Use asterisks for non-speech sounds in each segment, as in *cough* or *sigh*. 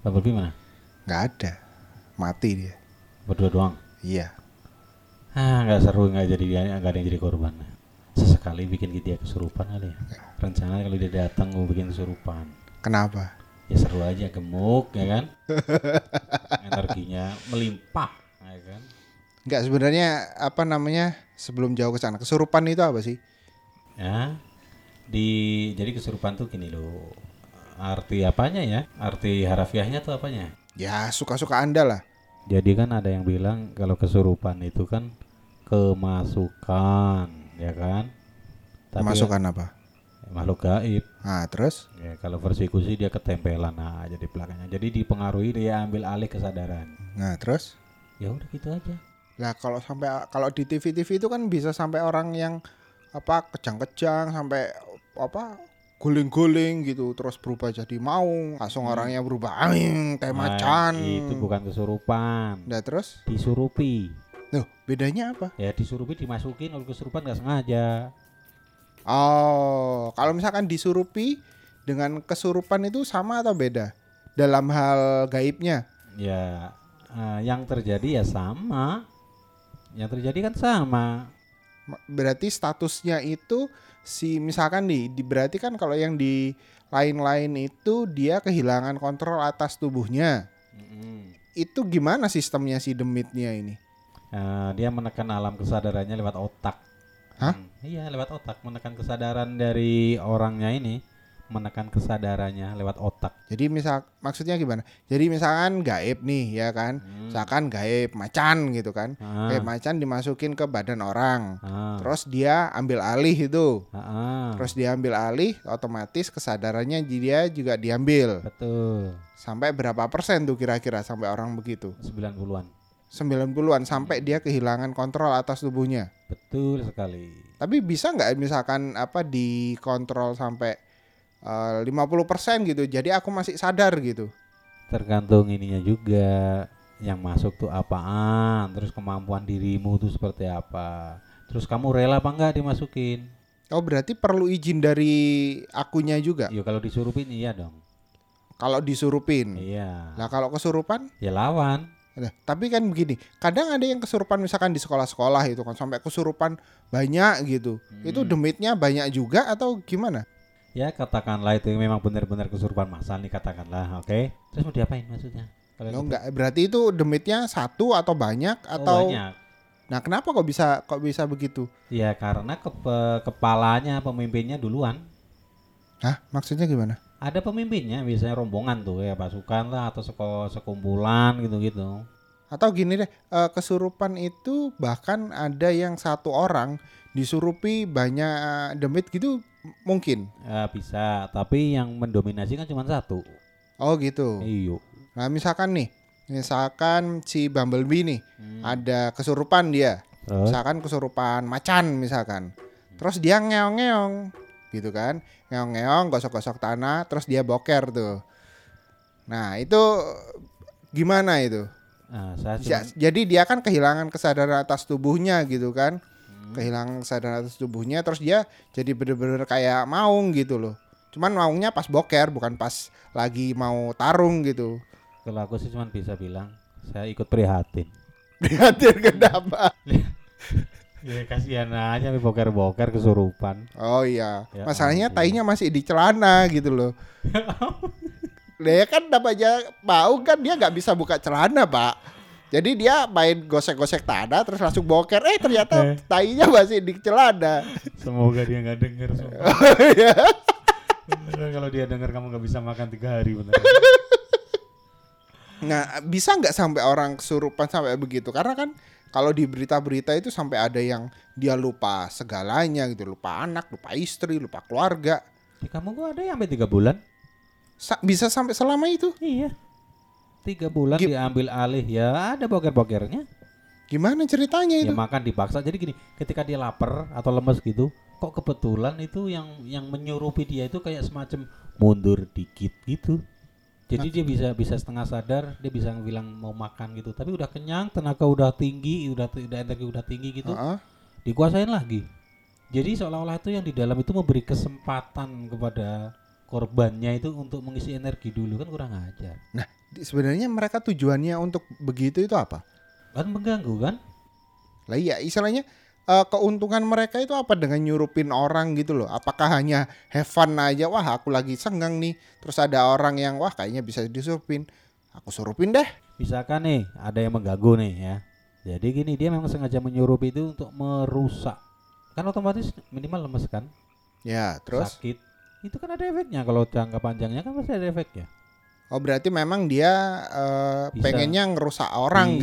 Double B mana? Nggak ada. Mati dia. Berdua doang. Iya. Ah, nggak seru nggak jadi nggak ada yang jadi korban. Sesekali bikin dia kesurupan kali ya. Rencana kalau dia datang mau bikin kesurupan. Kenapa? Ya seru aja gemuk ya kan. Energinya melimpah ya kan. Nggak sebenarnya apa namanya sebelum jauh ke sana kesurupan itu apa sih? Ya. Di jadi kesurupan tuh gini loh. Arti apanya ya? Arti harafiahnya tuh apanya? Ya suka-suka anda lah. Jadi kan ada yang bilang kalau kesurupan itu kan kemasukan, ya kan? Tapi ya. Masukkan apa? makhluk gaib. Nah terus? Ya, kalau persekusi dia ketempelan aja di belakangnya. Jadi dipengaruhi dia ambil alih kesadaran. Nah terus? Ya udah gitu aja. Lah kalau sampai kalau di TV-TV itu kan bisa sampai orang yang apa kejang-kejang sampai apa guling-guling gitu terus berubah jadi maung langsung orangnya berubah aing kayak Hmm. Nah, macan Itu bukan kesurupan. Nah terus? Disurupi. Loh, bedanya apa? Ya disurupi dimasukin oleh kesurupan nggak sengaja. Oh, kalau misalkan disurupi dengan kesurupan itu sama atau beda? Dalam hal gaibnya. Ya eh, yang terjadi ya sama. Yang terjadi kan sama. Ma- Berarti statusnya itu si misalkan nih, di, berarti kan kalau yang di lain-lain itu dia kehilangan kontrol atas tubuhnya. Mm-mm. Itu gimana sistemnya si demitnya ini? Eh, dia menekan alam kesadarannya lewat otak. Hah? Hmm, iya, lewat otak menekan kesadaran dari orangnya ini, menekan kesadarannya lewat otak. Jadi misal maksudnya gimana? Jadi misalkan gaib nih ya kan. Hmm. Misalkan gaib macan gitu kan. Ah, Gaib macan dimasukin ke badan orang. ah, Terus dia ambil alih itu. ah, ah. Terus diambil alih, otomatis kesadarannya dia juga diambil. betul. Sampai berapa persen tuh kira-kira sampai orang begitu? 90-an. 90-an sampai dia kehilangan kontrol atas tubuhnya. Betul sekali. Tapi bisa nggak misalkan apa dikontrol sampai eh, 50% gitu. Jadi aku masih sadar gitu. Tergantung ininya juga yang masuk tuh apaan, terus kemampuan dirimu tuh seperti apa. Terus kamu rela apa enggak dimasukin? Oh, berarti perlu izin dari akunya juga Ya kalau disurupin iya dong. kalau disurupin. Iya. Hmm. Lah kalau kesurupan Ya lawan. Nah, tapi kan begini, kadang ada yang kesurupan misalkan di sekolah-sekolah itu kan sampai kesurupan banyak gitu. Itu Hmm. demitnya banyak juga atau gimana? Ya katakanlah itu memang benar-benar kesurupan masal nih katakanlah, oke? Terus mau diapain maksudnya? Kalau Lo gitu- enggak berarti itu demitnya satu atau banyak Oh, atau banyak. Nah, kenapa kok bisa kok bisa begitu? Ya karena kepe- kepalanya pemimpinnya duluan. Hah, maksudnya gimana? Ada pemimpinnya biasanya rombongan tuh ya pasukan lah atau seko- sekumpulan gitu-gitu. Atau gini deh, eh, kesurupan itu bahkan ada yang satu orang disurupi banyak demit gitu mungkin. Ya, bisa, tapi yang mendominasi kan cuma satu. Oh, gitu. Iyo. Nah, misalkan nih, misalkan si Bumblebee nih Hmm. ada kesurupan dia. Terus misalkan kesurupan macan misalkan terus dia ngeong-ngeong gitu kan ngeong-ngeong gosok-gosok tanah terus dia boker tuh nah itu gimana itu nah, saya Ja- cuma jadi dia kan kehilangan kesadaran atas tubuhnya gitu kan kehilangan kesadaran atas tubuhnya terus dia jadi bener-bener kayak maung gitu loh cuman maungnya pas boker bukan pas lagi mau tarung gitu *laughs* kalau aku sih cuma bisa bilang saya ikut prihatin. prihatin kenapa Ya kasihan aja sampai boker-boker kesurupan. oh iya Ya masalahnya ampun. tainya masih di celana gitu *laughs* loh Dia kan namanya mau kan dia nggak bisa buka celana pak jadi dia main gosek-gosek tanah terus langsung boker eh Eh. ternyata tainya masih di celana *laughs* Semoga dia nggak denger sumpah. Beneran kalau dia denger kamu nggak bisa makan tiga hari beneran. nah bisa nggak sampai orang kesurupan sampai begitu karena kan kalau di berita-berita itu sampai ada yang dia lupa segalanya gitu lupa anak lupa istri lupa keluarga Di kamu gua ada yang sampai tiga bulan? Sa- bisa sampai selama itu Iya. tiga bulan Gip. diambil alih ya ada boker-bokernya Gimana ceritanya ya itu? makan dipaksa jadi gini ketika dia lapar atau lemes gitu kok kebetulan itu yang yang menyurupi dia itu kayak semacam mundur dikit gitu jadi dia bisa bisa setengah sadar dia bisa bilang mau makan gitu tapi udah kenyang tenaga udah tinggi udah udah energi udah tinggi gitu Heeh. dikuasain lagi. Jadi seolah-olah itu yang di dalam itu memberi kesempatan kepada korbannya itu untuk mengisi energi dulu kan kurang ajar. Nah, di- sebenarnya mereka tujuannya untuk begitu itu apa? Kan mengganggu kan? Lah iya, istilahnya eh, keuntungan mereka itu apa dengan nyurupin orang gitu loh? Apakah hanya have fun aja? Wah, aku lagi senggang nih. Terus ada orang yang wah kayaknya bisa disurupin. Aku surupin deh. Misalkan nih ada yang mengganggu nih ya. Jadi gini dia memang sengaja menyuruh itu untuk merusak. Kan otomatis minimal lemes kan? Ya, terus Sakit. Itu kan ada efeknya kalau jangka panjangnya kan pasti ada efeknya. oh berarti memang dia eh, Bisa. pengennya ngerusak orang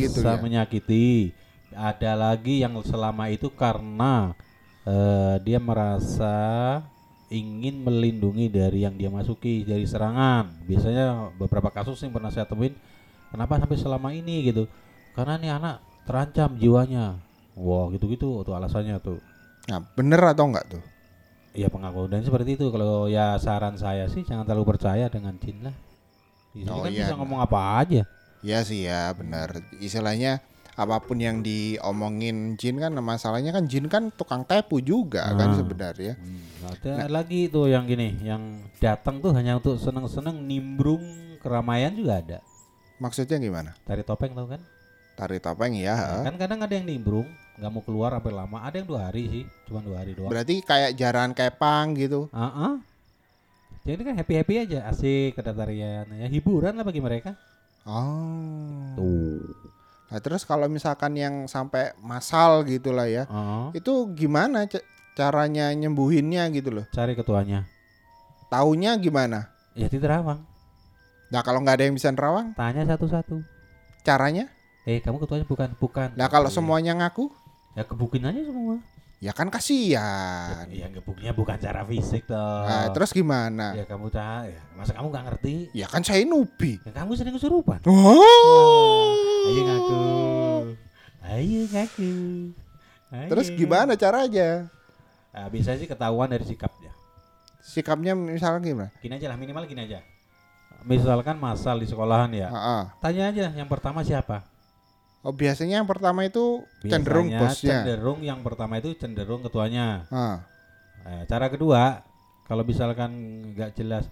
bisa gitu ya. menyakiti. Ada lagi yang selama itu karena eh, dia merasa ingin melindungi dari yang dia masuki dari serangan. Biasanya beberapa kasus yang pernah saya temuin, kenapa sampai selama ini gitu? Karena nih anak terancam jiwanya. Wah gitu-gitu tuh alasannya tuh. Nah, bener atau enggak tuh? Ya pengakuan dan seperti itu. Kalau ya saran saya sih jangan terlalu percaya dengan jin lah. Di sini Oh, kan iya, bisa nah. ngomong apa aja. Ya sih ya benar. Istilahnya apapun yang diomongin Jin kan masalahnya kan Jin kan tukang tepu juga kan Nah. sebenarnya. Hmm, ada nah, lagi tuh yang gini, yang datang tuh hanya untuk seneng-seneng nimbrung keramaian juga ada. Maksudnya gimana? Tari topeng tau kan? Tari topeng ya. Nah, kan kadang ada yang nimbrung, nggak mau keluar sampai lama. Ada yang dua hari sih, cuma dua hari doang. Berarti kayak jaran kepang gitu. Ah, ah. Jadi kan happy happy aja, asik ada tarian, ya hiburan lah bagi mereka. Gitu. Oh. Tuh. Nah, terus kalau misalkan yang sampai masal gitu lah ya. Ah, ah. Itu gimana ca- caranya nyembuhinnya gitu loh? Cari ketuanya. Taunya gimana? Ya di terawang. Nah, kalau nggak ada yang bisa nerawang, Tanya satu-satu. caranya? Eh kamu ketuanya bukan bukan. Nah, kalau Iya. semuanya ngaku, ya kebukin aja semua. ya kan kasihan. Ya gebuknya bukan cara fisik toh. Ah, Nah, terus gimana? Ya kamu tak, ya. masa kamu nggak ngerti? Ya kan saya nubi. Ya, kamu sering kesurupan. Oh. Ayo ngaku, Iya. ayo ngaku. Ayo. Terus gimana caranya? Ah, bisa sih ketahuan dari sikapnya. Sikapnya misalnya gimana? Gini aja lah minimal gini aja. Misalkan masal di sekolahan ya, Heeh. tanya aja yang pertama siapa. Oh, biasanya yang pertama itu Biasanya cenderung bosnya. Cenderung yang pertama itu cenderung ketuanya. Ah, Eh, cara kedua, kalau misalkan nggak jelas,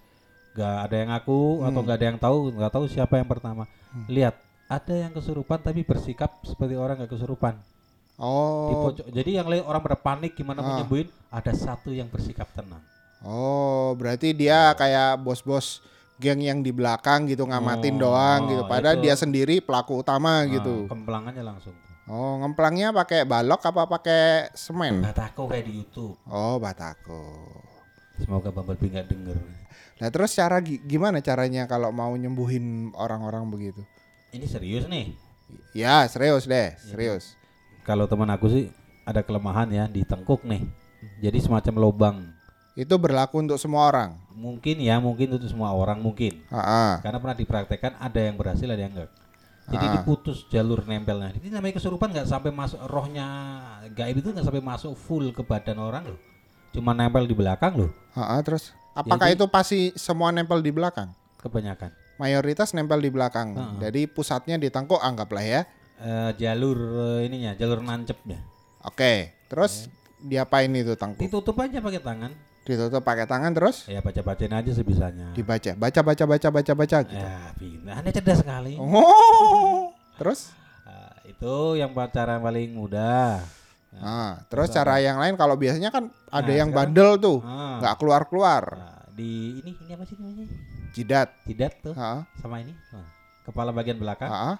nggak ada yang ngaku Hmm. atau nggak ada yang tahu, nggak tahu siapa yang pertama. Lihat, ada yang kesurupan tapi bersikap seperti orang nggak kesurupan. Di Oh. Ah. pojok- jadi yang lain orang pada panik gimana mau nyembuhin, ada satu yang bersikap tenang. Oh, berarti dia kayak bos-bos geng yang di belakang gitu ngamatin Oh, doang gitu. Padahal itu. dia sendiri pelaku utama gitu. Nah, kemplangannya langsung. Oh, ngemplangnya pakai balok apa pakai semen? Batako kayak di YouTube. Oh, batako. Semoga Bumblebee nggak denger. Nah, terus cara gi- gimana caranya kalau mau nyembuhin orang-orang begitu? Ini serius nih. Ya, serius Iya. deh, serius. Kalau teman aku sih ada kelemahan ya di tengkuk nih. Jadi semacam lubang. Itu berlaku untuk semua orang. Mungkin ya, mungkin untuk semua orang mungkin. Heeh. karena pernah dipraktekkan ada yang berhasil ada yang enggak jadi Ah. diputus jalur nempelnya jadi namanya kesurupan nggak sampai masuk rohnya gaib itu nggak sampai masuk full ke badan orang loh cuma nempel di belakang loh Heeh, terus apakah itu pasti semua nempel di belakang? kebanyakan Mayoritas nempel di belakang. Heeh. Jadi pusatnya di tengkuk anggaplah ya. Eh, jalur eh, ininya jalur ya. nancepnya Oke, terus diapain itu tangku? ditutup aja pakai tangan Ditutup pakai tangan terus ya baca bacain aja sebisanya dibaca, baca baca baca baca baca gitu. ya pindah anda cerdas sekali Oh, terus? Ah, itu yang pa- cara paling mudah Nah, terus cara yang lain kalau biasanya kan ada Nah, yang sekarang- bandel tuh, Ah. nggak keluar keluar, Ah, di ini ini apa sih namanya jidat. jidat tuh Heeh, sama ini ah, kepala bagian belakang heeh,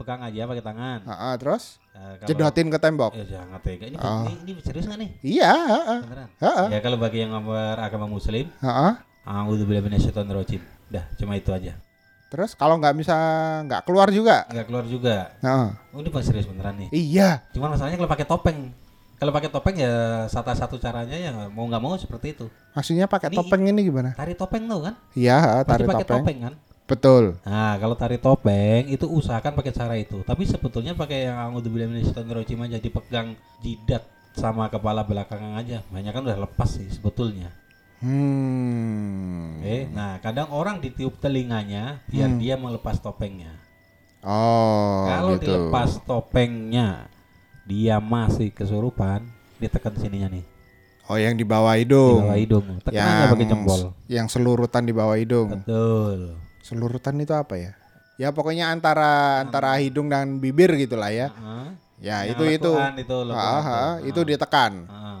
pegang aja pakai tangan. heeh, terus Eh, kalau- jedotin ke tembok. Ya jangan tega. Ini, Ah. ini, ini serius nggak nih? Iya, heeh, Beneran? heeh, Ya kalau bagi yang beragama muslim, heeh. A'udzubillahi minasyaitonirrajim. Dah, cuma itu aja. Terus kalau nggak bisa nggak keluar juga. Enggak keluar juga. Heeh. Oh, ini pas serius beneran nih. Iya. Cuma masalahnya kalau pakai topeng. Kalau pakai topeng ya salah satu caranya ya mau nggak mau seperti itu. Maksudnya pakai Ini- topeng ini gimana? Tari topeng tuh kan? Iya, Pasti tarik pakai topeng. topeng kan? Betul. Nah, kalau tari topeng itu usahakan pakai cara itu. Tapi sebetulnya pakai yang A'udzubillahi minasyaitonirrajim aja dipegang jidat sama kepala belakangan aja. Banyak kan udah lepas sih sebetulnya. Hmm. Oke. Nah, kadang orang ditiup telinganya biar dia melepas topengnya. Oh, kalau gitu. dilepas topengnya dia masih kesurupan, ditekan sininya nih. Oh, yang di bawah Di hidung. bawah hidung. Tekanannya Ya, pakai jempol. yang selurutan di bawah hidung. Betul. Selurutan itu apa ya? Ya pokoknya antara antara hidung dan bibir gitulah ya. Heeh. Ya Yang itu itu. lekukan itu, lekukan Ah, ah, itu. itu ditekan. Heeh.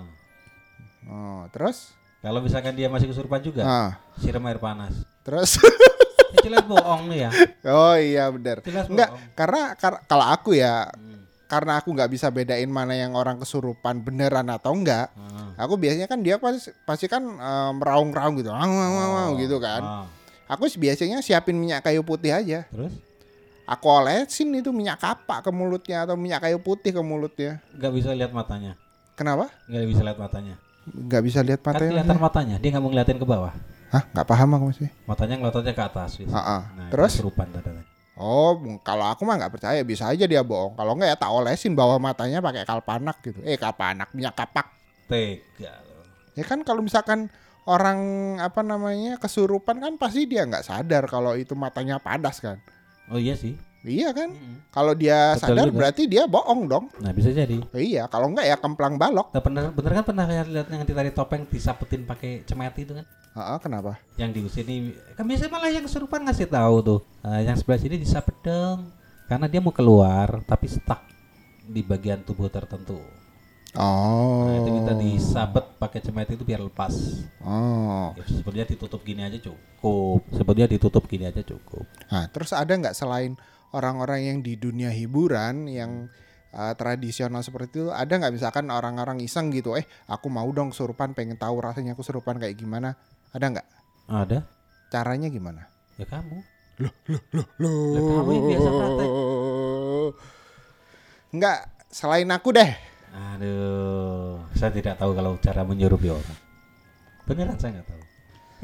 Oh, terus? Kalau misalkan dia masih kesurupan juga, Ah, siram air panas. terus. *laughs* Ya, jelas bohong nih ya. oh iya benar. Jelas Enggak, bohong. karena kar- kalau aku ya Hmm. karena aku nggak bisa bedain mana yang orang kesurupan beneran atau enggak. Ah. Aku biasanya kan dia pasti pasti kan eh, meraung-raung gitu. Wow, wow, wow, wow, gitu kan. Ah. Aku sih biasanya siapin minyak kayu putih aja. Terus Aku olesin itu minyak kapak ke mulutnya atau minyak kayu putih ke mulutnya. nggak bisa lihat matanya. Kenapa? Nggak bisa lihat matanya. Nggak bisa lihat Kan matanya. kelihatan matanya, dia nggak mau ngeliatin ke bawah. Hah, nggak paham aku masih. Matanya ngeliatinnya ke atas gitu. Ah, ah. Nah, Terus? kesurupan tadi. Oh, m- kalau aku mah nggak percaya bisa aja dia bohong. Kalau nggak ya tak olesin bawah matanya pakai kalpanak gitu. Eh, kalpanak minyak kapak. Tega. loh. Ya kan kalau misalkan orang apa namanya kesurupan kan pasti dia nggak sadar kalau itu matanya padas kan. Oh iya sih. Iya kan? Mm-mm. Kalau dia Betul sadar juga. berarti dia bohong dong. Nah bisa jadi. Iya, kalau nggak ya kemplang balok. Nah, bener, bener kan pernah kayak lihat yang ditarik topeng disapetin pakai cemeti itu kan? Heeh, kenapa? Yang di sini kan biasanya malah yang kesurupan ngasih tahu tuh. Eh, yang sebelah sini disapet dong. Karena dia mau keluar tapi stuck di bagian tubuh tertentu. Oh. Nah, itu minta disabet pakai cemeti itu biar lepas. Oh. Ya, sebenarnya ditutup gini aja cukup. Sebenarnya ditutup gini aja cukup. Nah, terus ada nggak selain orang-orang yang di dunia hiburan yang uh, tradisional seperti itu, ada nggak misalkan orang-orang iseng gitu, eh aku mau dong surupan, pengen tahu rasanya aku surupan kayak gimana? Ada nggak? Ada? Caranya gimana? Ya kamu. Loh, Lah, kamu yang biasa praktek. Nggak, selain aku deh. Aduh, saya tidak tahu kalau cara menyurupi orang. Beneran saya nggak tahu.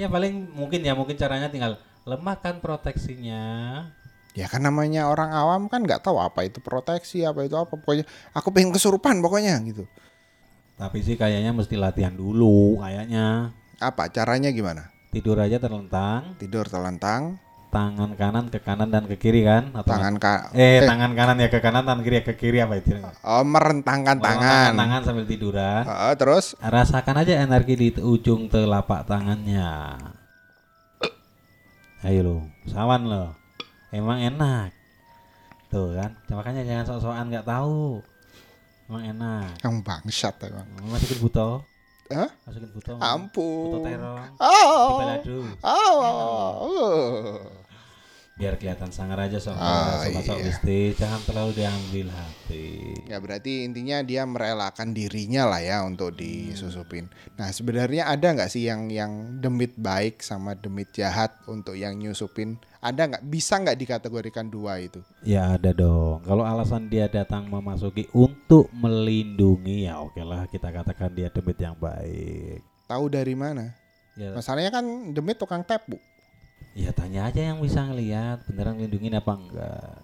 Ya paling mungkin ya mungkin caranya tinggal lemahkan proteksinya. Ya kan namanya orang awam kan nggak tahu apa itu proteksi, apa itu apa. Pokoknya aku pengen kesurupan pokoknya gitu. Tapi sih kayaknya mesti latihan dulu kayaknya. Apa caranya gimana? Tidur aja terlentang, Tidur telentang, tangan kanan ke kanan dan ke kiri kan? Atau tangan ka eh, tangan kanan ya ke kanan, tangan kiri ya ke kiri apa itu? oh, merentangkan tangan. Tangan sambil tiduran. Heeh, terus Rasakan aja energi di ujung telapak tangannya. Ayo lo, sawan lo. Emang enak. Tuh kan, makanya jangan sok-sokan nggak tahu. Emang enak. Yang bangsat emang. Masukin buto, Hah? masukin buto. Buto Ampun. terong. Di Oh. balado. Oh. Biar kelihatan sangar aja sobat Ah, sobat iya. Gusti. Jangan terlalu diambil hati. Ya berarti intinya dia merelakan dirinya lah ya untuk disusupin. Nah sebenarnya ada nggak sih yang yang demit baik sama demit jahat untuk yang nyusupin? Ada nggak? Bisa nggak dikategorikan dua itu? Ya ada dong. Kalau alasan dia datang memasuki untuk melindungi ya oke lah kita katakan dia demit yang baik. Tahu dari mana? Ya, Masalahnya kan demit tukang tepu. ya tanya aja yang bisa ngelihat beneran melindungi apa enggak.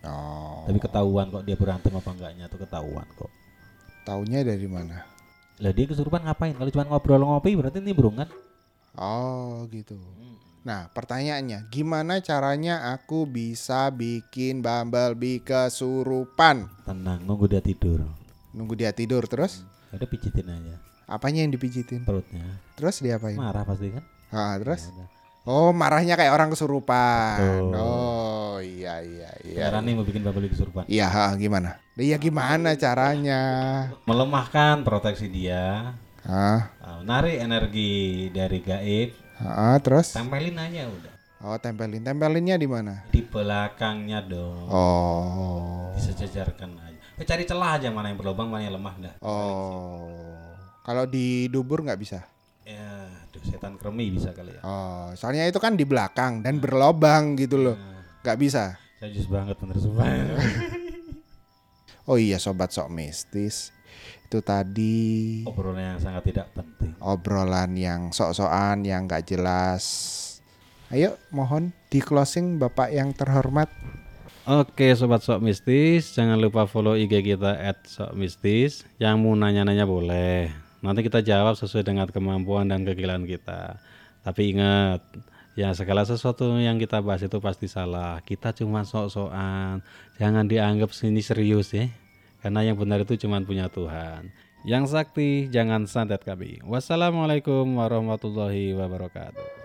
Oh. Tapi ketahuan kok dia berantem apa enggaknya tuh ketahuan kok. Taunya dari mana? Lah dia kesurupan ngapain? Kalau cuma ngobrol ngopi berarti nimbrung kan? Oh gitu. Nah, pertanyaannya, gimana caranya aku bisa bikin Bumblebee kesurupan? Tenang nunggu dia tidur. Nunggu dia tidur terus? Ada pijitin aja Apanya yang dipijitin? perutnya. Terus diapain? Marah pasti kan? Ah, terus? Marah. Oh, marahnya kayak orang kesurupan. Betul. Oh, iya iya iya. Sekarang nih mau bikin bapak kesurupan. Iya, ha, gimana? Iya, gimana caranya? Melemahkan proteksi dia. Ah, Ah, Narik energi dari gaib ah, terus? tempelin aja udah Oh, tempelin. Tempelinnya di mana? di belakangnya dong Oh. disejajarkan aja Eh, cari celah aja mana yang berlubang mana yang lemah dah Oh. Kalau di dubur nggak bisa? ya aduh, setan kremi bisa kali ya Oh, soalnya itu kan di belakang dan berlobang gitu loh. Nggak Ah, bisa. saya jus banget bener sumpah Oh iya sobat sok mistis. Itu tadi obrolan yang sangat tidak penting obrolan yang sok-sokan yang nggak jelas. Ayo mohon di closing Bapak yang terhormat. Oke sobat sok mistis, jangan lupa follow IG kita @sokmistis. Yang mau nanya-nanya boleh. Nanti kita jawab sesuai dengan kemampuan dan kegilaan kita. Tapi ingat, ya segala sesuatu yang kita bahas itu pasti salah. Kita cuma sok-sokan. Jangan dianggap sini serius ya. Karena yang benar itu cuma punya Tuhan. Yang sakti jangan santet kami. Wassalamualaikum warahmatullahi wabarakatuh.